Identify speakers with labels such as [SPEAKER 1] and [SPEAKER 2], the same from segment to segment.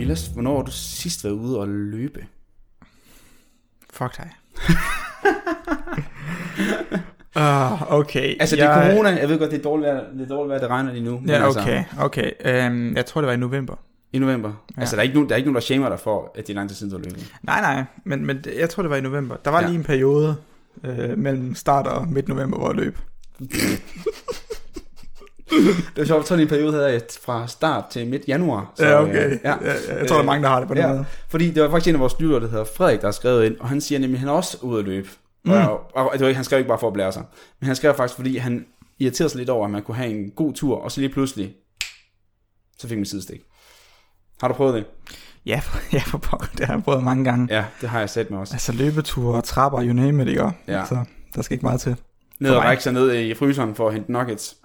[SPEAKER 1] ellers, Øh, hvornår har du sidst været ude og løbe?
[SPEAKER 2] Fuck dig. uh, okay.
[SPEAKER 1] Altså, det er corona. Jeg ved godt, det er dårligt vejr, det, er dårligt vejr, det regner lige nu. men
[SPEAKER 2] Ja,
[SPEAKER 1] altså,
[SPEAKER 2] okay, okay. Øhm, jeg tror, det var i november.
[SPEAKER 1] I november. Ja. Altså, der er, ikke nogen, der er ikke nogen, der shamer dig for, at det er lang tid siden, du har løbet.
[SPEAKER 2] Nej, nej, men, men det- jeg tror, det var i november. Der var
[SPEAKER 1] Ja.
[SPEAKER 2] lige en periode øh, mellem start og midt november, hvor jeg løb.
[SPEAKER 1] Det var sjovt, sådan en periode havde jeg fra start til midt januar. øh,
[SPEAKER 2] Så, ja, okay.
[SPEAKER 1] Ja.
[SPEAKER 2] Ja. Jeg, jeg tror, der er mange, der har det på den
[SPEAKER 1] Ja,
[SPEAKER 2] måde.
[SPEAKER 1] fordi det var faktisk en af vores lyttere, der hedder Frederik, der har skrevet ind, og han siger nemlig, at han er også ude at løbe. Mm. Og, jeg- og, det var ikke, han skrev ikke bare for at blære sig, men han skrev faktisk, fordi han irriterede sig lidt over, at man kunne have en god tur, og så lige pludselig, så fik man sidestik. Har du prøvet det?
[SPEAKER 2] Ja, for, ja, for pokker, det har jeg prøvet mange gange. Ja.
[SPEAKER 1] Ja, det har jeg sat mig også.
[SPEAKER 2] Altså løbeture og trapper, you name it, ikke?
[SPEAKER 1] Ja.
[SPEAKER 2] Så der skal ikke meget til.
[SPEAKER 1] Ned og
[SPEAKER 2] mig.
[SPEAKER 1] række sig ned i fryseren for at hente nuggets.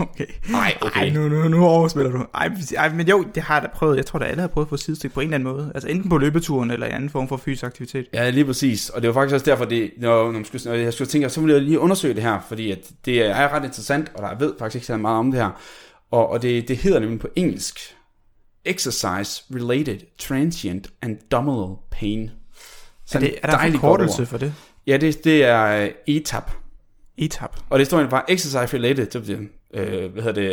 [SPEAKER 2] okay.
[SPEAKER 1] Nej,
[SPEAKER 2] Ej, nu, nu, nu overspiller du. Ej, men- ej, men jo, det har jeg da prøvet. Jeg tror da, alle har prøvet at få sidestik på en eller anden måde. Altså enten på løbeturen eller i anden form for fysisk aktivitet.
[SPEAKER 1] Ja, lige præcis. Og det var faktisk også derfor, det, når, når, man skulle, når jeg skulle tænke, så ville jeg lige undersøge det her, fordi at det er ret interessant, og der jeg ved faktisk ikke så meget om det her. Og, og det, det hedder nemlig på engelsk, Exercise Related Transient Abdominal Pain.
[SPEAKER 2] Er,
[SPEAKER 1] Så
[SPEAKER 2] det, er der en forkortelse for det?
[SPEAKER 1] Ja, det, det er øh, ETAP.
[SPEAKER 2] ETAP.
[SPEAKER 1] Og det står egentlig bare Exercise Related, så bliver, øh, hvad hedder det,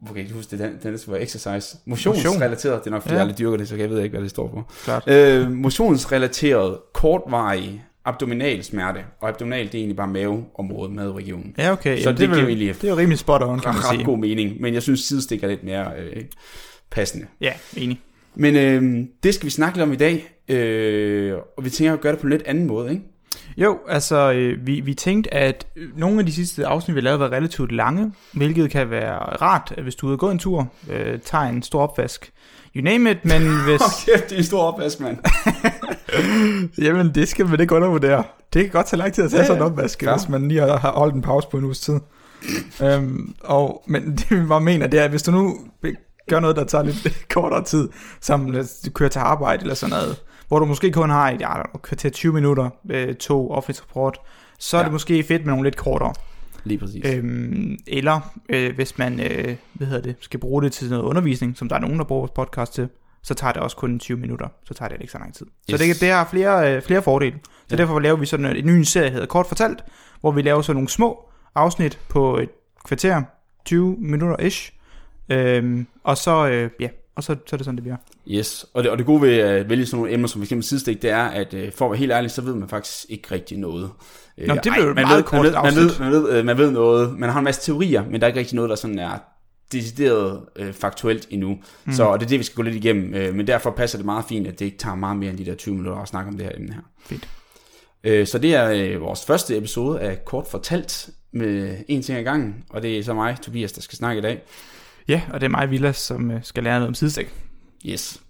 [SPEAKER 1] hvor kan jeg ikke huske det, den, den var exercise. Motionsrelateret, det er nok fordi,
[SPEAKER 2] Ja.
[SPEAKER 1] ja. jeg aldrig dyrker det, så jeg ved ikke, hvad det står for.
[SPEAKER 2] Klart.
[SPEAKER 1] Øh, motionsrelateret, kortvarig abdominal smerte. Og abdominal, det er egentlig bare maveområdet, maveregionen.
[SPEAKER 2] Ja, okay.
[SPEAKER 1] Så
[SPEAKER 2] Jamen,
[SPEAKER 1] det giver
[SPEAKER 2] vel-
[SPEAKER 1] vi lige-
[SPEAKER 2] Det er jo rimelig spot on, kan man
[SPEAKER 1] Ret
[SPEAKER 2] sige.
[SPEAKER 1] god mening, men jeg synes, sidestik er lidt mere øh, passende.
[SPEAKER 2] Ja, enig.
[SPEAKER 1] Men øh, det skal vi snakke lidt om i dag, øh, og vi tænker at gøre det på en lidt anden måde, ikke?
[SPEAKER 2] Jo, altså øh, vi, vi tænkte, at øh, nogle af de sidste afsnit, vi lavede, var relativt lange, hvilket kan være rart, hvis du er ude og gå en tur, øh, tager en stor opvask. You name it, men hvis...
[SPEAKER 1] Åh, kæft, det er en stor opvask, mand.
[SPEAKER 2] Jamen, det skal man ikke undervurdere. Det kan godt tage lang tid at tage
[SPEAKER 1] Ja,
[SPEAKER 2] sådan en opvask,
[SPEAKER 1] klar.
[SPEAKER 2] hvis man lige har har holdt en pause på en uges tid. øhm, og, men det vi bare mener, det er, at hvis du nu gør noget, der tager lidt kortere tid, som at du kører til arbejde eller sådan noget, hvor du måske kun har et ja, kvarter 20 minutter, øh, to offentlig transport, så er
[SPEAKER 1] Ja.
[SPEAKER 2] det måske fedt med nogle lidt kortere.
[SPEAKER 1] Lige præcis. Øh.
[SPEAKER 2] Øhm, eller øh, hvis man øh, hvad hedder det, skal bruge det til noget undervisning, som der er nogen, der bruger vores podcast til, så tager det også kun 20 minutter. Så tager det ikke så lang tid. Yes. Så
[SPEAKER 1] Yes.
[SPEAKER 2] det, det har flere, øh, flere fordele. Så ja.
[SPEAKER 1] Ja.
[SPEAKER 2] derfor laver vi sådan øh, en, en ny serie, der hedder Kort Fortalt, hvor vi laver sådan nogle små afsnit på et kvarter, 20 minutter ish. Øhm, og så, øh, ja, og så, så er det sådan, det bliver.
[SPEAKER 1] Yes, og det, og det gode ved at vælge sådan nogle emner som f.eks. sidestik, det er, at øh, for at være helt ærlig, så ved man faktisk ikke rigtig noget. Øh,
[SPEAKER 2] Nå, men det blev
[SPEAKER 1] ej,
[SPEAKER 2] et
[SPEAKER 1] man
[SPEAKER 2] meget
[SPEAKER 1] ved,
[SPEAKER 2] kort
[SPEAKER 1] man ved, man, ved,
[SPEAKER 2] afsnit.
[SPEAKER 1] man, ved, øh, man ved noget, man har en masse teorier, men der er ikke rigtig noget, der sådan er decideret øh, faktuelt endnu. Mm. Så og det er det, vi skal gå lidt igennem, øh, men derfor passer det meget fint, at det ikke tager meget mere end de der 20 minutter at snakke om det her emne her.
[SPEAKER 2] Fedt.
[SPEAKER 1] Øh, så det er øh, vores første episode af Kort Fortalt med en ting ad gangen, og det er så mig, Tobias, der skal snakke i dag.
[SPEAKER 2] Ja, og det er mig, Villas, som øh, skal lære noget om sidestik.
[SPEAKER 1] Yes.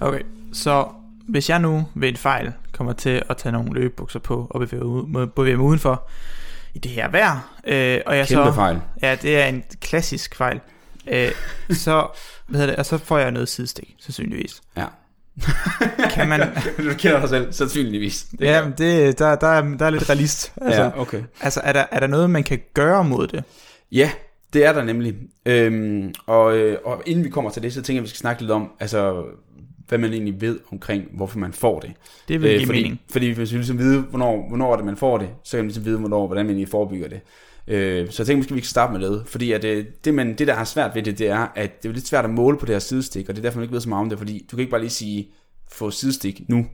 [SPEAKER 2] Okay, så hvis jeg nu ved en fejl kommer til at tage nogle løbebukser på og bevæge, ud, må- bevæge mig udenfor i det her vejr, øh, og jeg
[SPEAKER 1] Kæmpe
[SPEAKER 2] så,
[SPEAKER 1] fejl.
[SPEAKER 2] ja, det er en klassisk fejl, øh, så, hvad hedder det, og så får jeg noget sidestik, sandsynligvis.
[SPEAKER 1] Ja.
[SPEAKER 2] Kan man,
[SPEAKER 1] du kender dig selv, sandsynligvis. Det
[SPEAKER 2] ja, men det, der, der, er, der er lidt realist. Altså, ja.
[SPEAKER 1] ja, okay.
[SPEAKER 2] altså er, der, er der noget, man kan gøre mod det?
[SPEAKER 1] Ja, det er der nemlig. Øhm, og, øh, og inden vi kommer til det, så tænker jeg, at vi skal snakke lidt om, altså, hvad man egentlig ved omkring, hvorfor man får det.
[SPEAKER 2] Det vil øh, give
[SPEAKER 1] fordi,
[SPEAKER 2] mening.
[SPEAKER 1] Fordi hvis vi ligesom vide, hvornår, hvornår er det, man får det, så kan man ligesom vide, hvornår, hvordan man egentlig forebygger det. Øh, så jeg tænker måske, vi kan starte med det, fordi at, øh, det, man, det, der har svært ved det, det er, at det er lidt svært at måle på det her sidestik, og det er derfor, man ikke ved så meget om det, fordi du kan ikke bare lige sige, få sidestik nu,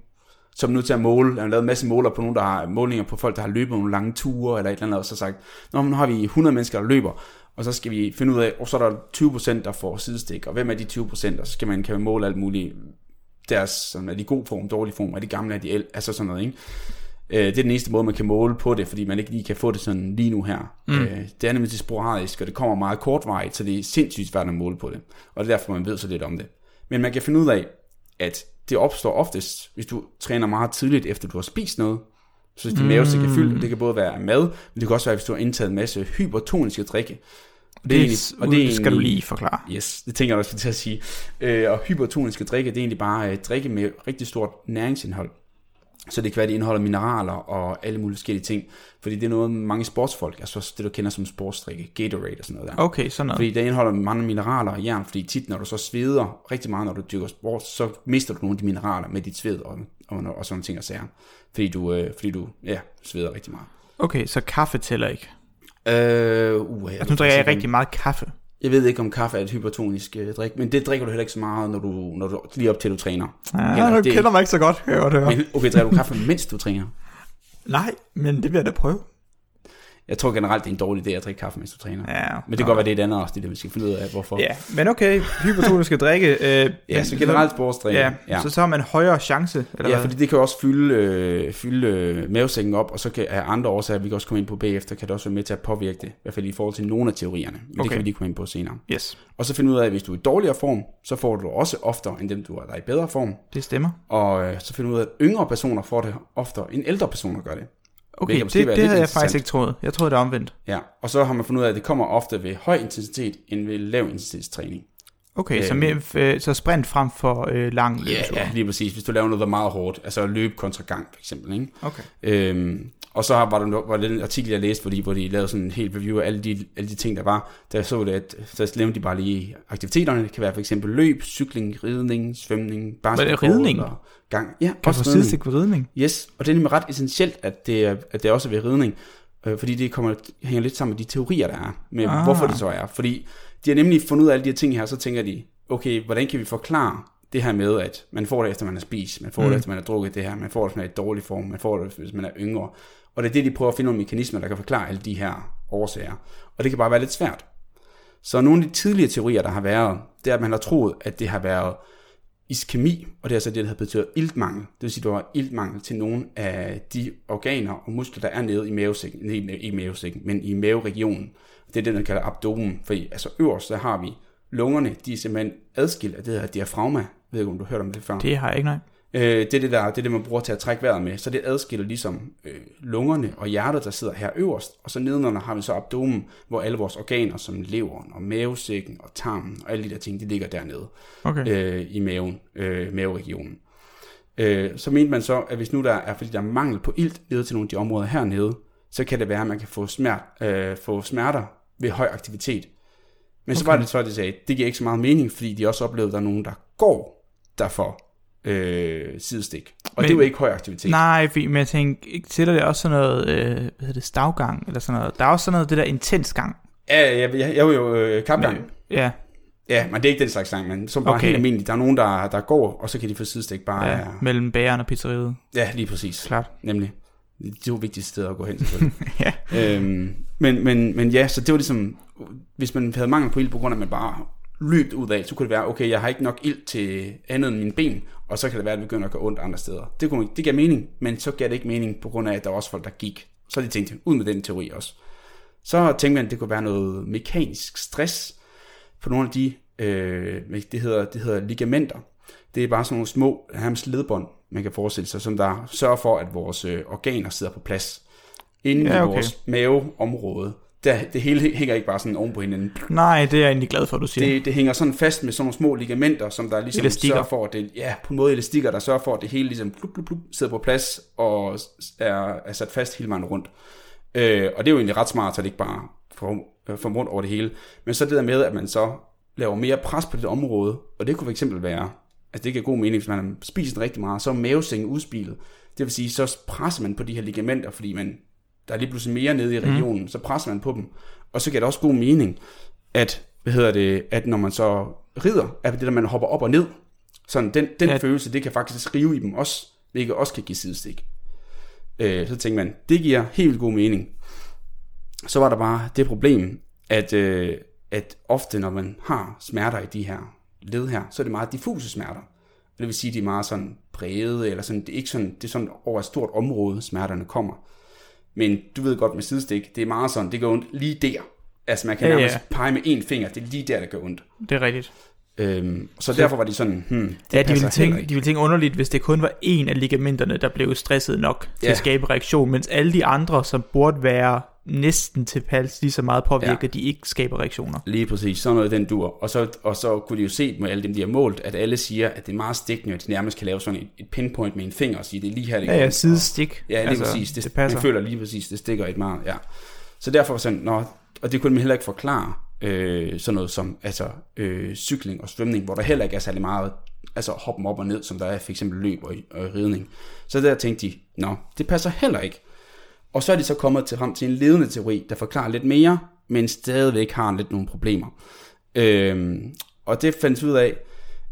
[SPEAKER 1] så er man nødt til at måle, man har lavet en masse måler på nogen, der har målinger på folk, der har løbet nogle lange ture, eller et eller andet, og så sagt, Nå, men nu har vi 100 mennesker, der løber, og så skal vi finde ud af, og så er der 20%, der får sidestik, og hvem er de 20%, og så skal man, kan man måle alt muligt, deres, sådan, er de i god form, dårlig form, er de gamle, er de el, altså sådan noget, ikke? Øh, det er den eneste måde, man kan måle på det, fordi man ikke lige kan få det sådan lige nu her. Mm. Øh, det er nemlig til sporadisk, og det kommer meget kortvarigt, så det er sindssygt svært at måle på det. Og det er derfor, man ved så lidt om det. Men man kan finde ud af, at det opstår oftest, hvis du træner meget tidligt, efter du har spist noget. Så hvis din mm. mavesæk er fyldt, og det kan både være af mad, men det kan også være, hvis du har indtaget en masse hypertoniske drikke. Og det, er egentlig- og det, er egentlig-
[SPEAKER 2] skal du lige forklare.
[SPEAKER 1] Yes, det tænker jeg også til at sige. Øh, og hypertoniske drikke, det er egentlig bare øh, drikke med rigtig stort næringsindhold. Så det kan være, det indeholder mineraler og alle mulige forskellige ting. Fordi det er noget, mange sportsfolk, altså også det, du kender som sportsdrikke, Gatorade og sådan noget der.
[SPEAKER 2] Okay, sådan noget.
[SPEAKER 1] Fordi det indeholder mange mineraler og jern, fordi tit, når du så sveder rigtig meget, når du dyrker sport, så mister du nogle af de mineraler med dit sved og, og, og sådan nogle ting og sager. Fordi du, øh, fordi du ja, sveder rigtig meget.
[SPEAKER 2] Okay, så kaffe tæller ikke.
[SPEAKER 1] Øh, uh, jeg,
[SPEAKER 2] Altså, nu drikker jeg rigtig meget kaffe.
[SPEAKER 1] jeg ved ikke, om kaffe er et hypertonisk øh, drik, men det drikker du heller ikke så meget, når du, når du lige op til du træner.
[SPEAKER 2] Ja,
[SPEAKER 1] Eller
[SPEAKER 2] du
[SPEAKER 1] det-
[SPEAKER 2] kender mig ikke så godt, kan jeg godt høre.
[SPEAKER 1] Men, okay, drikker du kaffe, mens du træner?
[SPEAKER 2] Nej, men det vil jeg da prøve.
[SPEAKER 1] Jeg tror generelt, det er en dårlig idé at drikke kaffe, mens du træner.
[SPEAKER 2] Ja,
[SPEAKER 1] Men det kan godt være, det er et andet afsnit, det vi skal finde ud af, hvorfor.
[SPEAKER 2] Ja, men okay, hypertoniske drikke. Øh,
[SPEAKER 1] ja så generelt sportstræning.
[SPEAKER 2] Ja, ja. Så, så har man højere chance, eller
[SPEAKER 1] Ja,
[SPEAKER 2] hvad?
[SPEAKER 1] fordi det kan jo også fylde, øh, fylde øh, mavesækken op, og så kan af andre årsager, vi kan også komme ind på bagefter, kan det også være med til at påvirke det, i hvert fald i forhold til nogle af teorierne. Men okay.
[SPEAKER 2] Okay.
[SPEAKER 1] det kan vi lige komme ind på senere.
[SPEAKER 2] Yes,
[SPEAKER 1] Og så finde ud af, at hvis du er i dårligere form, så får du det også oftere end dem, du er, der er i bedre form.
[SPEAKER 2] det stemmer.
[SPEAKER 1] Og øh, så finde ud af, at yngre personer får det oftere end ældre personer gør det.
[SPEAKER 2] Okay,
[SPEAKER 1] Hvilket måske
[SPEAKER 2] det,
[SPEAKER 1] være
[SPEAKER 2] det, det
[SPEAKER 1] lidt
[SPEAKER 2] havde jeg
[SPEAKER 1] interessant.
[SPEAKER 2] faktisk ikke troet. Jeg troede, det var omvendt.
[SPEAKER 1] Ja, og så har man fundet ud af, at det kommer ofte ved høj intensitet end ved lav intensitetstræning.
[SPEAKER 2] Okay, så,
[SPEAKER 1] Øhm.
[SPEAKER 2] mere, øh, så sprint frem for øh, lang løbetur.
[SPEAKER 1] lige præcis. Hvis du laver noget, der er meget hårdt, altså løb kontra gang for eksempel, ikke?
[SPEAKER 2] Okay.
[SPEAKER 1] Øhm, og så var der no- var den artikel, jeg læste, fordi, hvor de lavede sådan en helt review af alle de, alle de ting, der var. Der så det, at så nævnte de bare lige aktiviteterne. Det kan være for eksempel løb, cykling, ridning, svømning, basketball
[SPEAKER 2] ridning?
[SPEAKER 1] og gang. Ja,
[SPEAKER 2] Kan
[SPEAKER 1] også
[SPEAKER 2] du få
[SPEAKER 1] ridning.
[SPEAKER 2] sidestik på ridning?
[SPEAKER 1] Yes, og det er nemlig ret essentielt, at det, er, at det også er ved ridning, øh, fordi det kommer, hænger lidt sammen med de teorier, der er, med
[SPEAKER 2] Ah.
[SPEAKER 1] ah. hvorfor det så er. Fordi de har nemlig fundet ud af alle de her ting her, så tænker de, okay, hvordan kan vi forklare det her med, at man får det efter man har spist, man får mm.
[SPEAKER 2] Mm.
[SPEAKER 1] det efter man har drukket det her, man får det, hvis man er i dårlig form, man får det, hvis man er yngre. Og det er det, de prøver at finde nogle mekanismer, der kan forklare alle de her årsager. Og det kan bare være lidt svært. Så nogle af de tidligere teorier, der har været, det er, at man har troet, at det har været iskemi, og det er altså det, der havde betydet iltmangel. Det vil sige, at der var iltmangel til nogle af de organer og muskler, der er nede i mavesækken, nej, ikke i mavesækken, men i maveregionen. Det er det, man kalder abdomen, for altså øverst, der har vi lungerne, de er simpelthen adskilt af det her diafragma. Jeg ved ikke, om du har hørt om det før.
[SPEAKER 2] Det har jeg ikke, nej.
[SPEAKER 1] Øh, det er det, der, det er det, man bruger til at trække vejret med. Så det adskiller ligesom øh, lungerne og hjertet, der sidder her øverst. Og så nedenunder har vi så abdomen, hvor alle vores organer, som leveren og mavesækken og tarmen og alle de der ting, de ligger dernede
[SPEAKER 2] Okay.
[SPEAKER 1] øh, i maven, øh, maveregionen. Øh, så mente man så, at hvis nu der er, fordi der er mangel på ilt nede til nogle af de områder hernede, så kan det være, at man kan få, smert, øh, få smerter ved høj aktivitet. Men okay. så var det så, at de sagde, at det giver ikke så meget mening, fordi de også oplevede, at der er nogen, der går, der får øh, sidestik. Og Men,
[SPEAKER 2] Men-
[SPEAKER 1] det er jo ikke høj aktivitet.
[SPEAKER 2] Nej, fordi, men jeg tænkte, ikke tæller det også sådan noget, øh, hvad hedder det, stavgang eller sådan noget. Der er også sådan noget, det der intens gang.
[SPEAKER 1] Ja, jeg, jeg, jeg var jo øh, kapgang.
[SPEAKER 2] Men- Ja,
[SPEAKER 1] Ja, men det er ikke den slags sang, men som bare
[SPEAKER 2] Okay.
[SPEAKER 1] okay. helt almindeligt. Der er nogen, der, der går, og så kan de få sidestik bare.
[SPEAKER 2] ja,
[SPEAKER 1] Ah, Ja,
[SPEAKER 2] mellem bageren og pizzeriet,
[SPEAKER 1] ja lige præcis.
[SPEAKER 2] klart.
[SPEAKER 1] Nemlig. Det er jo vigtigste sted at gå hen, selvfølgelig.
[SPEAKER 2] Ja.
[SPEAKER 1] øhm, men, men, men ja, så det var ligesom, hvis man havde mangel på ild, på grund af, at man bare løb ud af, så kunne det være, okay, jeg har ikke nok ild til andet end mine ben, og så kan det være, at det begynder at gøre ondt andre steder. Det, kunne, det gav mening, men så gav det ikke mening, på grund af, at der var også folk, der gik. Så de tænkte, ud med den teori også. Så tænkte man, at det kunne være noget mekanisk stress, på nogle af de, øh, det, hedder, det hedder ligamenter. Det er bare sådan nogle små, nærmest ledbånd, man kan forestille sig, som der sørger for, at vores øh, organer sidder på plads. Inden
[SPEAKER 2] Ja,
[SPEAKER 1] ja,
[SPEAKER 2] okay.
[SPEAKER 1] okay. i vores maveområde. Der, det hele hænger ikke bare sådan oven på hinanden.
[SPEAKER 2] Nej, det er jeg egentlig glad for, at du siger.
[SPEAKER 1] Det, det hænger sådan fast med sådan nogle små ligamenter, som der ligesom
[SPEAKER 2] Elastikker.
[SPEAKER 1] sørger for, at det, ja, på en måde elastikker, der sørger for, at det hele ligesom plup, plup, plup, sidder på plads og s- er, er sat fast hele vejen rundt. Øh, og det er jo egentlig ret smart, så det ikke bare får øh, får rundt over det hele. Men så det der med, at man så laver mere pres på det område, og det kunne for eksempel være, altså det giver god mening, hvis man har spist rigtig meget, så er mavesænken udspilet. Det vil sige, så presser man på de her ligamenter, fordi man, der er lige pludselig mere nede
[SPEAKER 2] Mhm.
[SPEAKER 1] i regionen, mm. så presser man på dem. Og så giver det også god mening, at, hvad hedder det, at når man så rider, at det der, man hopper op og ned, sådan den, den
[SPEAKER 2] Ja.
[SPEAKER 1] ja. følelse, det kan faktisk skrive i dem også, hvilket også kan give sidestik. Øh, så tænkte man, det giver helt vildt god mening. Så var der bare det problem, at, øh, at ofte når man har smerter i de her led her, så er det meget diffuse smerter. Og det vil sige, at de er meget sådan brede, eller sådan, det er ikke sådan, det er sådan over et stort område, smerterne kommer. Men du ved godt med sidestik, det er meget sådan, det gør ondt lige der. Altså man kan
[SPEAKER 2] Ja, ja.
[SPEAKER 1] nærmest pege med én finger, det er lige der, det gør ondt.
[SPEAKER 2] Det er rigtigt.
[SPEAKER 1] Øhm, så, derfor var de sådan, hmm, det
[SPEAKER 2] Ja, de
[SPEAKER 1] passer
[SPEAKER 2] ville, tænke,
[SPEAKER 1] heller
[SPEAKER 2] de ville tænke underligt, hvis det kun var en af ligamenterne, der blev stresset nok til
[SPEAKER 1] Ja.
[SPEAKER 2] at skabe reaktion, mens alle de andre, som burde være næsten tilpas lige så meget påvirket, ja. at de ikke skaber reaktioner.
[SPEAKER 1] Lige præcis, sådan noget i den dur. Og så, og så kunne de jo se med alle dem, de har målt, at alle siger, at det er meget stikkende, at de nærmest kan lave sådan et, et pinpoint med en finger og sige, det er lige her, det
[SPEAKER 2] Ja,
[SPEAKER 1] går.
[SPEAKER 2] ja,
[SPEAKER 1] Og-
[SPEAKER 2] sidestik.
[SPEAKER 1] Ja, lige altså, præcis. Det,
[SPEAKER 2] det
[SPEAKER 1] det
[SPEAKER 2] passer.
[SPEAKER 1] Man føler lige præcis, det stikker et meget, ja. Så derfor sådan, nå, og det kunne man heller ikke forklare, øh, sådan noget som altså, øh, cykling og svømning, hvor der heller ikke er særlig meget altså hoppen op og ned, som der er for eksempel løb og, og ridning. Så der tænkte de, nå, det passer heller ikke. Og så er de så kommet til, frem til en ledende teori, der forklarer lidt mere, men stadigvæk har lidt nogle problemer. Øhm, og det fandt ud af,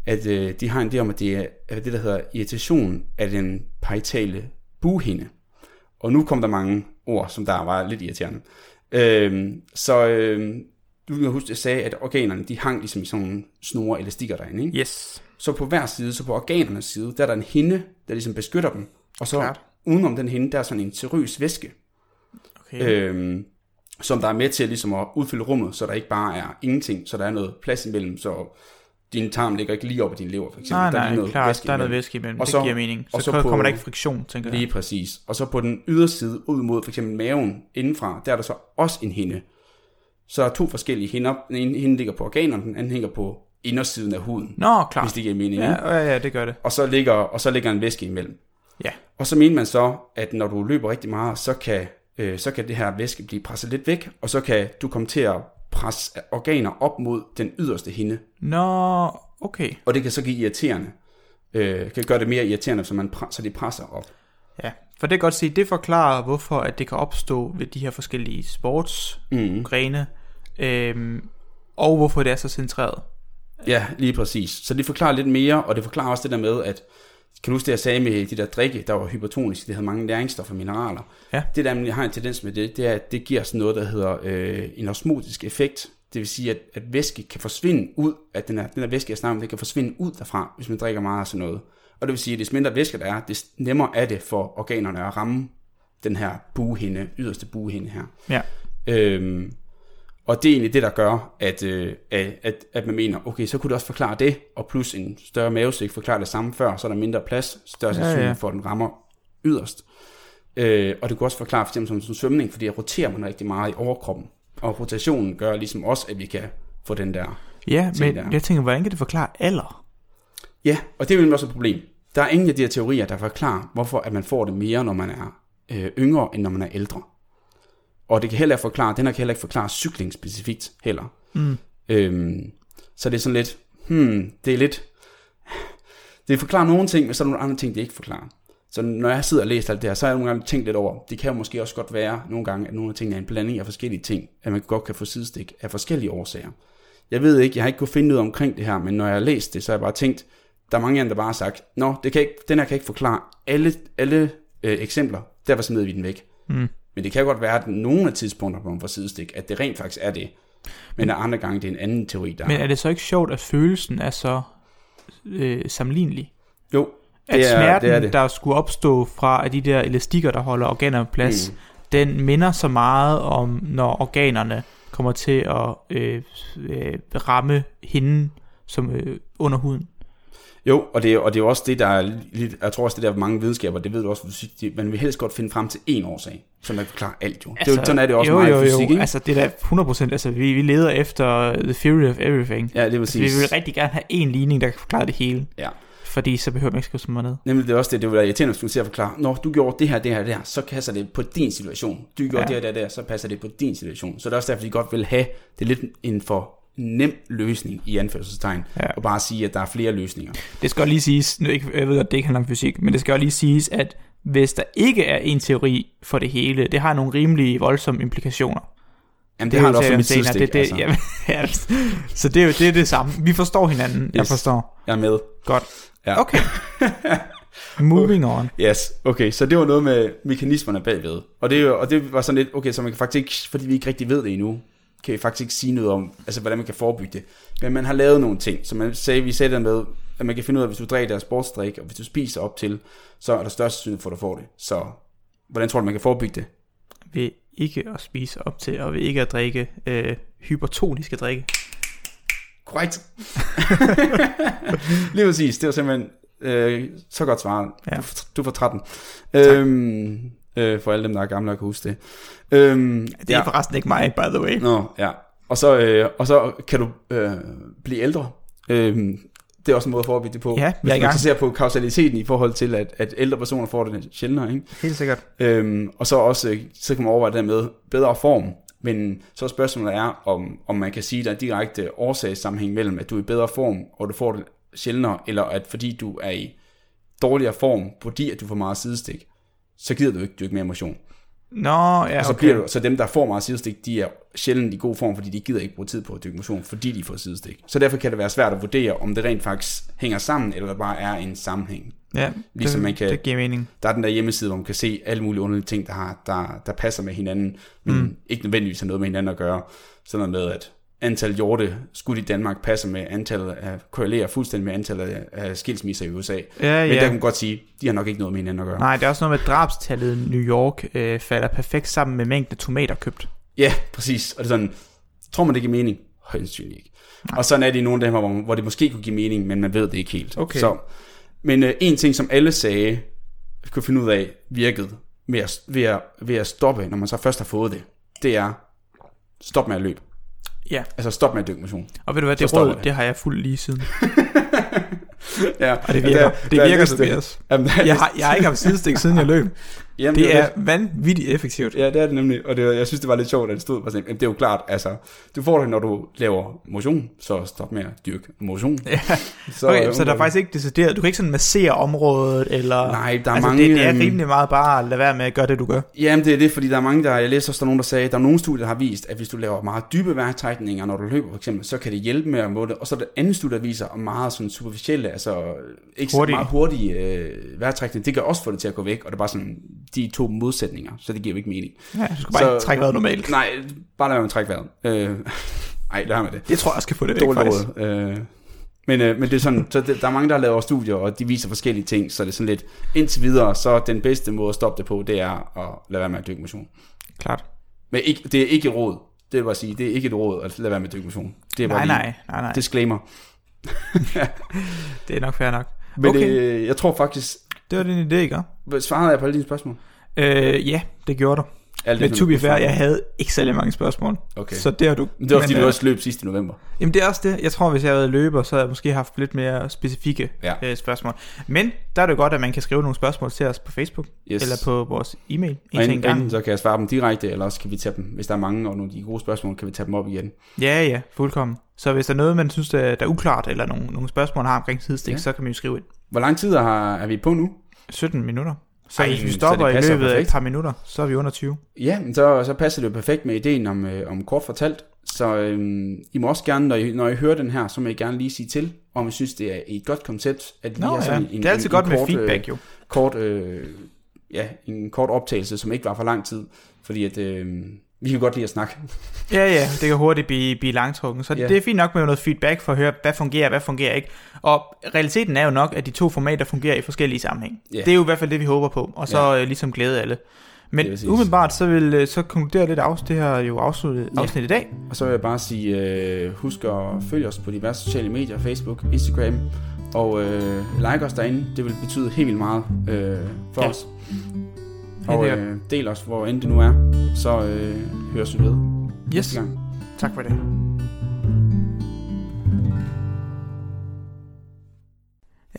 [SPEAKER 1] at øh, de har en idé om, at det er at det, der hedder irritation af den parietale buhinde. Og nu kom der mange ord, som der var lidt irriterende. Øhm, så øhm, du kan huske, at jeg sagde, at organerne de hang ligesom i sådan nogle snore elastikker derinde. Ikke?
[SPEAKER 2] Yes.
[SPEAKER 1] Så på hver side, så på organernes side, der er der en hinde, der ligesom beskytter dem. Og så
[SPEAKER 2] Klart.
[SPEAKER 1] Klart. udenom den hinde, der er sådan en serøs væske,
[SPEAKER 2] Okay. Øh,
[SPEAKER 1] øhm, som der er med til ligesom at udfylde rummet, så der ikke bare er ingenting, så der er noget plads imellem, så din tarm ligger ikke lige op ad din lever, for eksempel.
[SPEAKER 2] nej,
[SPEAKER 1] der er
[SPEAKER 2] nej,
[SPEAKER 1] lige noget
[SPEAKER 2] klart.
[SPEAKER 1] væske
[SPEAKER 2] Der er noget
[SPEAKER 1] imellem.
[SPEAKER 2] væske imellem.
[SPEAKER 1] Og
[SPEAKER 2] det
[SPEAKER 1] så-
[SPEAKER 2] giver mening. Så,
[SPEAKER 1] og
[SPEAKER 2] så
[SPEAKER 1] så
[SPEAKER 2] kommer
[SPEAKER 1] på-
[SPEAKER 2] der ikke friktion, tænker jeg.
[SPEAKER 1] Lige præcis. Og så på den yderside, ud mod for eksempel maven indenfra, der er der så også en hinde. Så der er to forskellige hinder. Den ene hinde ligger på organerne, den anden hænger på indersiden af huden,
[SPEAKER 2] Nå, klart.
[SPEAKER 1] hvis det giver mening.
[SPEAKER 2] Ja,
[SPEAKER 1] Ja.
[SPEAKER 2] ja, ja, det gør det.
[SPEAKER 1] Og, så ligger, og så ligger en væske imellem.
[SPEAKER 2] Ja.
[SPEAKER 1] Og så mener man så, at når du løber rigtig meget, så kan, øh, så kan det her væske blive presset lidt væk, og så kan du komme til at presse organer op mod den yderste hinde.
[SPEAKER 2] Nå, okay.
[SPEAKER 1] Og det kan så give irriterende. Øh, kan gøre det mere irriterende, så, man, pre- så de presser op.
[SPEAKER 2] Ja, for det kan godt sige, det forklarer, hvorfor at det kan opstå ved de her forskellige
[SPEAKER 1] Mhm.
[SPEAKER 2] sportsgrene, mm. øhm, og hvorfor det er så centreret.
[SPEAKER 1] Ja, lige præcis. Så det forklarer lidt mere, og det forklarer også det der med, at kan du huske det, jeg sagde med de der drikke, der var hypertoniske, det havde mange næringsstoffer og mineraler.
[SPEAKER 2] Ja.
[SPEAKER 1] Det der, man har en tendens med det, det er, at det giver sådan noget, der hedder øh, en osmotisk effekt. Det vil sige, at, at væske kan forsvinde ud, at den her, den her væske, jeg snakker om, det kan forsvinde ud derfra, hvis man drikker meget af sådan noget. Og det vil sige, at des mindre væske der er, des nemmere er det for organerne at ramme den her buhinde, yderste buhinde her.
[SPEAKER 2] Ja,
[SPEAKER 1] Øhm, og det er egentlig det, der gør, at, øh, at, at- at man mener, okay, så kunne det også forklare det, og plus en større mavesæk forklarer det samme før, så er der mindre plads, større sandsynlighed ja,
[SPEAKER 2] ja.
[SPEAKER 1] ja. for, at den rammer yderst. Øh, og det kunne også forklare for eksempel som, som svømning, fordi jeg roterer man rigtig meget i overkroppen. Og rotationen gør ligesom også, at vi kan få den der...
[SPEAKER 2] ja men
[SPEAKER 1] der.
[SPEAKER 2] jeg tænker, hvordan kan det forklare alder?
[SPEAKER 1] Ja, og det er jo nemlig også et problem. Der er ingen af de her teorier, der forklarer, hvorfor at man får det mere, når man er øh, yngre, end når man er ældre. Og det kan heller ikke forklare, den her kan heller ikke forklare cykling specifikt heller.
[SPEAKER 2] Mm.
[SPEAKER 1] Øhm, så det er sådan lidt, hmm, det er lidt, det forklarer nogle ting, men så er der nogle andre ting, det ikke forklarer. Så når jeg sidder og læser alt det her, så har jeg nogle gange tænkt lidt over, det kan jo måske også godt være nogle gange, at nogle af tingene er en blanding af forskellige ting, at man godt kan få sidestik af forskellige årsager. Jeg ved ikke, jeg har ikke kunnet finde noget omkring det her, men når jeg har læst det, så har jeg bare tænkt, der er mange af dem, der bare har sagt, nå, det kan ikke, den her kan ikke forklare alle, alle øh, eksempler, derfor smider vi den væk.
[SPEAKER 2] Mm.
[SPEAKER 1] Men det kan godt være, at nogle af tidspunkter, hvor man får sidestik, at det rent faktisk er det. Men der er andre gange, det er en anden teori, der
[SPEAKER 2] Men er det så ikke sjovt, at følelsen er så øh, sammenlignelig?
[SPEAKER 1] Jo,
[SPEAKER 2] At
[SPEAKER 1] det er,
[SPEAKER 2] smerten,
[SPEAKER 1] det er det.
[SPEAKER 2] der skulle opstå fra at de der elastikker, der holder organerne på plads, mm. den minder så meget om, når organerne kommer til at øh, øh, ramme hinden som, øh, under huden.
[SPEAKER 1] Jo, og det, er- og det er jo også det, der er lidt, jeg tror også, det der er mange videnskaber, det ved du også, fra fysik, det- man vil helst godt finde frem til én årsag, som der forklarer alt jo. Altså, det er jo sådan er det også
[SPEAKER 2] jo,
[SPEAKER 1] meget
[SPEAKER 2] jo,
[SPEAKER 1] i fysik,
[SPEAKER 2] jo.
[SPEAKER 1] ikke? Altså,
[SPEAKER 2] Altså, det er da 100%, altså, vi, vi leder efter the theory of everything.
[SPEAKER 1] ja, det er
[SPEAKER 2] Så altså, vi vil
[SPEAKER 1] præcis.
[SPEAKER 2] rigtig gerne have en ligning, der kan forklare det hele,
[SPEAKER 1] Ja.
[SPEAKER 2] fordi så behøver man ikke skrive så meget ned.
[SPEAKER 1] Nemlig det er også det, det vil være irriterende, hvis du til at forklare, når du gjorde det her, det her, det her, så passer det på din situation. Du gjorde
[SPEAKER 2] Ja.
[SPEAKER 1] ja. det her, det her, det her, så passer det på din situation. Så det er også derfor, de godt vil have, det er lidt en for nem løsning i anførselstegn,
[SPEAKER 2] Ja.
[SPEAKER 1] ja. og bare sige, at der er flere løsninger.
[SPEAKER 2] Det skal også lige siges, nu ikke, jeg ved godt, det ikke handler om fysik, men det skal også lige siges, at hvis der ikke er en teori for det hele, det har nogle rimelig voldsomme implikationer.
[SPEAKER 1] Jamen, det, det har
[SPEAKER 2] jo
[SPEAKER 1] det også
[SPEAKER 2] til
[SPEAKER 1] for
[SPEAKER 2] at
[SPEAKER 1] mit
[SPEAKER 2] senere.
[SPEAKER 1] sidste,
[SPEAKER 2] det, det,
[SPEAKER 1] altså.
[SPEAKER 2] altså. ja, Så det er jo det, er det samme. Vi forstår hinanden. Yes. Jeg
[SPEAKER 1] Yes.
[SPEAKER 2] forstår.
[SPEAKER 1] Jeg er med.
[SPEAKER 2] Godt.
[SPEAKER 1] Ja.
[SPEAKER 2] Okay. Moving on.
[SPEAKER 1] Yes, okay, så det var noget med mekanismerne bagved. Og det, er jo- og det var sådan lidt, okay, så man kan faktisk ikke, fordi vi ikke rigtig ved det endnu, kan vi faktisk ikke sige noget om, altså hvordan man kan forebygge det. Men man har lavet nogle ting, så man sagde, vi sagde der med, at man kan finde ud af, hvis du drikker deres sportsdrik, og hvis du spiser op til, så er der størst sandsynlighed for, at du får det. Så hvordan tror du, man kan forebygge det?
[SPEAKER 2] Ved ikke at spise op til, og ved ikke at drikke øh, hypertoniske drikke.
[SPEAKER 1] Korrekt. Lige præcis, det var simpelthen øh, så godt svaret.
[SPEAKER 2] Ja.
[SPEAKER 1] Ja. Du, får- du får 13. Øhm, øh, for alle dem, der er gamle og kan huske det. Øhm,
[SPEAKER 2] Det er ja. forresten ikke mig, by the way.
[SPEAKER 1] Nå, ja. Og så, øh, og så kan du øh, blive ældre. Øhm, det er også en måde at forebygge det på.
[SPEAKER 2] Ja, jeg er
[SPEAKER 1] hvis
[SPEAKER 2] i
[SPEAKER 1] man
[SPEAKER 2] gang.
[SPEAKER 1] så ser på kausaliteten i forhold til, at, at ældre personer får det sjældnere. Ikke?
[SPEAKER 2] Helt sikkert.
[SPEAKER 1] Øhm, og så også, øh, så kan man overveje det der med bedre form. Men så er spørgsmålet er, om, om man kan sige, at der er direkte årsagssammenhæng mellem, at du er i bedre form, og du får det sjældnere, eller at fordi du er i dårligere form, fordi at du får meget sidestik, så gider du ikke dyrke mere motion.
[SPEAKER 2] Nå, ja,
[SPEAKER 1] Og så,
[SPEAKER 2] okay.
[SPEAKER 1] Altså, bliver du, så dem, der får meget sidestik, de er sjældent i god form, fordi de gider ikke bruge tid på at dyrke motion, fordi de får sidestik. Så derfor kan det være svært at vurdere, om det rent faktisk hænger sammen, eller der bare er en sammenhæng.
[SPEAKER 2] ja,
[SPEAKER 1] ligesom
[SPEAKER 2] det,
[SPEAKER 1] man kan-
[SPEAKER 2] det giver mening.
[SPEAKER 1] Der er den der hjemmeside, hvor man kan se alle mulige underlige ting, der, har, der, der passer med hinanden, men mm. ikke nødvendigvis har noget med hinanden at gøre. Sådan noget med, at antal hjorte skudt i Danmark passer med antallet af, korrelerer fuldstændig med antallet af- af skilsmisser i USA.
[SPEAKER 2] Ja,
[SPEAKER 1] Men der
[SPEAKER 2] ja.
[SPEAKER 1] kan man godt sige, de har nok ikke noget med hinanden at gøre.
[SPEAKER 2] Nej, det er også noget med, at drabstallet i New York øh, falder perfekt sammen med mængden tomater købt.
[SPEAKER 1] Ja, præcis. Og det er sådan, tror man det giver mening? Højst sandsynligt ikke. Og sådan er det i nogle af dem, hvor, hvor det måske kunne give mening, men man ved det ikke helt.
[SPEAKER 2] Okay.
[SPEAKER 1] Så, men øh, en ting, som alle sagde, kunne finde ud af, virkede ved at, ved, at, ved at stoppe, når man så først har fået det, det er, stop med at løbe.
[SPEAKER 2] Ja,
[SPEAKER 1] Altså stop med at dyrke motion.
[SPEAKER 2] og ved du hvad,
[SPEAKER 1] Så
[SPEAKER 2] det
[SPEAKER 1] stopper
[SPEAKER 2] råd,
[SPEAKER 1] det.
[SPEAKER 2] det har jeg fuldt lige siden.
[SPEAKER 1] ja,
[SPEAKER 2] Og det virker,
[SPEAKER 1] Altså,
[SPEAKER 2] det virker Tobias.
[SPEAKER 1] Jamen, der, er-
[SPEAKER 2] Jeg har, jeg har ikke haft sidestik, siden jeg løb.
[SPEAKER 1] jamen,
[SPEAKER 2] Det
[SPEAKER 1] jo
[SPEAKER 2] er vanvittigt effektivt.
[SPEAKER 1] Ja, det er det nemlig, og det, var- jeg synes, det var lidt sjovt, at det stod på sådan, en- det er jo klart, altså, du får det, når du laver motion, så stop med at dyrke motion.
[SPEAKER 2] Ja.
[SPEAKER 1] Så, øh,
[SPEAKER 2] okay, så der er faktisk ikke decideret, du kan ikke sådan massere området, eller...
[SPEAKER 1] Nej, der er
[SPEAKER 2] altså,
[SPEAKER 1] mange...
[SPEAKER 2] Det, det er
[SPEAKER 1] øhm,
[SPEAKER 2] rimelig meget bare at lade være med at gøre det, du gør.
[SPEAKER 1] Jamen, det er det, fordi der er mange, der... Jeg læser også, der er nogen, der sagde, der er nogle studier, der har vist, at hvis du laver meget dybe vejrtrækninger, når du løber, for eksempel, så kan det hjælpe med at måle det. Og så er der andet studie, der viser, om meget sådan superficielle, altså ikke hurtige.
[SPEAKER 2] Hurtige.
[SPEAKER 1] meget hurtige øh, vejrtrækninger, det kan også få det til at gå væk, og det er bare sådan, de er to modsætninger, så det giver jo ikke mening.
[SPEAKER 2] Ja, du skal bare
[SPEAKER 1] så,
[SPEAKER 2] så, ikke trække vejret normalt.
[SPEAKER 1] Nej, bare lad være med at trække vejret. Øh, ej, lad være med det.
[SPEAKER 2] Det tror jeg også kan få det væk,
[SPEAKER 1] Dårligt
[SPEAKER 2] faktisk.
[SPEAKER 1] råd. Øh, men, øh, men det er sådan, så det, der er mange, der har lavet studier, og de viser forskellige ting, så det er sådan lidt, indtil videre, så den bedste måde at stoppe det på, det er at lade være med at dyrke motion.
[SPEAKER 2] Klart.
[SPEAKER 1] Men ikke, det er ikke et råd, det vil jeg bare sige, det er ikke et råd at lade være med at dyrke motion. Det er bare
[SPEAKER 2] Nej,
[SPEAKER 1] lige
[SPEAKER 2] nej, nej, nej. Det,
[SPEAKER 1] disclaimer.
[SPEAKER 2] det er nok fair nok.
[SPEAKER 1] Men
[SPEAKER 2] okay, det,
[SPEAKER 1] øh, jeg tror faktisk,
[SPEAKER 2] det var din idé, ikke?
[SPEAKER 1] svarede jeg på alle dine spørgsmål?
[SPEAKER 2] Øh, ja, det gjorde du.
[SPEAKER 1] Alt
[SPEAKER 2] Men to be fair, jeg havde ikke særlig mange spørgsmål.
[SPEAKER 1] Okay.
[SPEAKER 2] Så det har du...
[SPEAKER 1] Men det var fordi,
[SPEAKER 2] men,
[SPEAKER 1] du
[SPEAKER 2] øh,
[SPEAKER 1] også løb sidste november.
[SPEAKER 2] Jamen det er også det. Jeg tror, hvis jeg havde været løber, så havde jeg måske haft lidt mere specifikke
[SPEAKER 1] Ja.
[SPEAKER 2] ja. øh, spørgsmål. Men der er det jo godt, at man kan skrive nogle spørgsmål til os på Facebook,
[SPEAKER 1] Yes.
[SPEAKER 2] yes. eller på vores e-mail. En
[SPEAKER 1] Og
[SPEAKER 2] til
[SPEAKER 1] enten,
[SPEAKER 2] en gang.
[SPEAKER 1] enten så kan jeg svare dem direkte, eller også kan vi tage dem, hvis der er mange, og nogle af de gode spørgsmål, kan vi tage dem op igen.
[SPEAKER 2] Ja, ja, fuldkommen. Så hvis der er noget, man synes, der, der er uklart, eller nogle, nogle spørgsmål, man har omkring sidestik,
[SPEAKER 1] Ja.
[SPEAKER 2] ja. så kan man jo skrive ind.
[SPEAKER 1] Hvor lang tid har, er vi på nu?
[SPEAKER 2] 17 minutter. Så
[SPEAKER 1] Ej,
[SPEAKER 2] Ej, hvis
[SPEAKER 1] men
[SPEAKER 2] vi
[SPEAKER 1] så
[SPEAKER 2] stopper
[SPEAKER 1] det
[SPEAKER 2] i
[SPEAKER 1] passer
[SPEAKER 2] løbet af et
[SPEAKER 1] perfekt.
[SPEAKER 2] par minutter, så er vi under 20.
[SPEAKER 1] Ja, men så, så passer det jo perfekt med ideen om, øh, om kort fortalt. Så øhm, I må også gerne, når I, når I hører den her, så må I gerne lige sige til, om I synes, det er et godt koncept, at vi
[SPEAKER 2] Nå,
[SPEAKER 1] har
[SPEAKER 2] ja.
[SPEAKER 1] sådan altså, en,
[SPEAKER 2] det er altid
[SPEAKER 1] en,
[SPEAKER 2] godt
[SPEAKER 1] en
[SPEAKER 2] med
[SPEAKER 1] kort,
[SPEAKER 2] feedback, jo.
[SPEAKER 1] Øh, kort, øh, ja, en kort optagelse, som ikke var for lang tid, fordi at, øh, vi kan godt lide at snakke.
[SPEAKER 2] Ja, ja, det kan hurtigt blive, blive langtrukken. Så
[SPEAKER 1] Ja.
[SPEAKER 2] ja. det er fint nok med noget feedback for at høre, hvad fungerer, hvad fungerer ikke. Og realiteten er jo nok, at de to formater fungerer i forskellige sammenhæng.
[SPEAKER 1] Ja.
[SPEAKER 2] Det er jo i hvert fald det, vi håber på, og så ja. ligesom glæde alle.
[SPEAKER 1] Det er præcis.
[SPEAKER 2] Men umiddelbart, så vil øh, så konkluderer lidt af det her jo afsluttet
[SPEAKER 1] Ja.
[SPEAKER 2] afsnit i dag.
[SPEAKER 1] Og så vil jeg bare sige, øh, husk at følge os på diverse sociale medier, Facebook, Instagram, og øh, like os derinde. Det vil betyde helt vildt meget øh, for ja.
[SPEAKER 2] Ja.
[SPEAKER 1] os.
[SPEAKER 2] Ja,
[SPEAKER 1] Og
[SPEAKER 2] det er-
[SPEAKER 1] øh, del os, hvor end det nu er. Så øh, høres vi ved næste
[SPEAKER 2] Yes,
[SPEAKER 1] gang.
[SPEAKER 2] tak for det.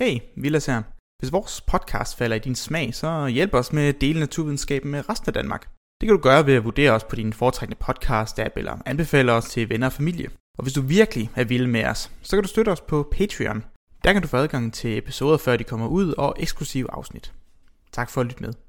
[SPEAKER 2] Hey, Vilas her. Hvis vores podcast falder i din smag, så hjælp os med at dele naturvidenskaben med resten af Danmark. Det kan du gøre ved at vurdere os på din foretrækkende podcast-app eller anbefale os til venner og familie. Og hvis du virkelig er vild med os, så kan du støtte os på Patreon. Der kan du få adgang til episoder, før de kommer ud, og eksklusive afsnit. Tak for at lytte med.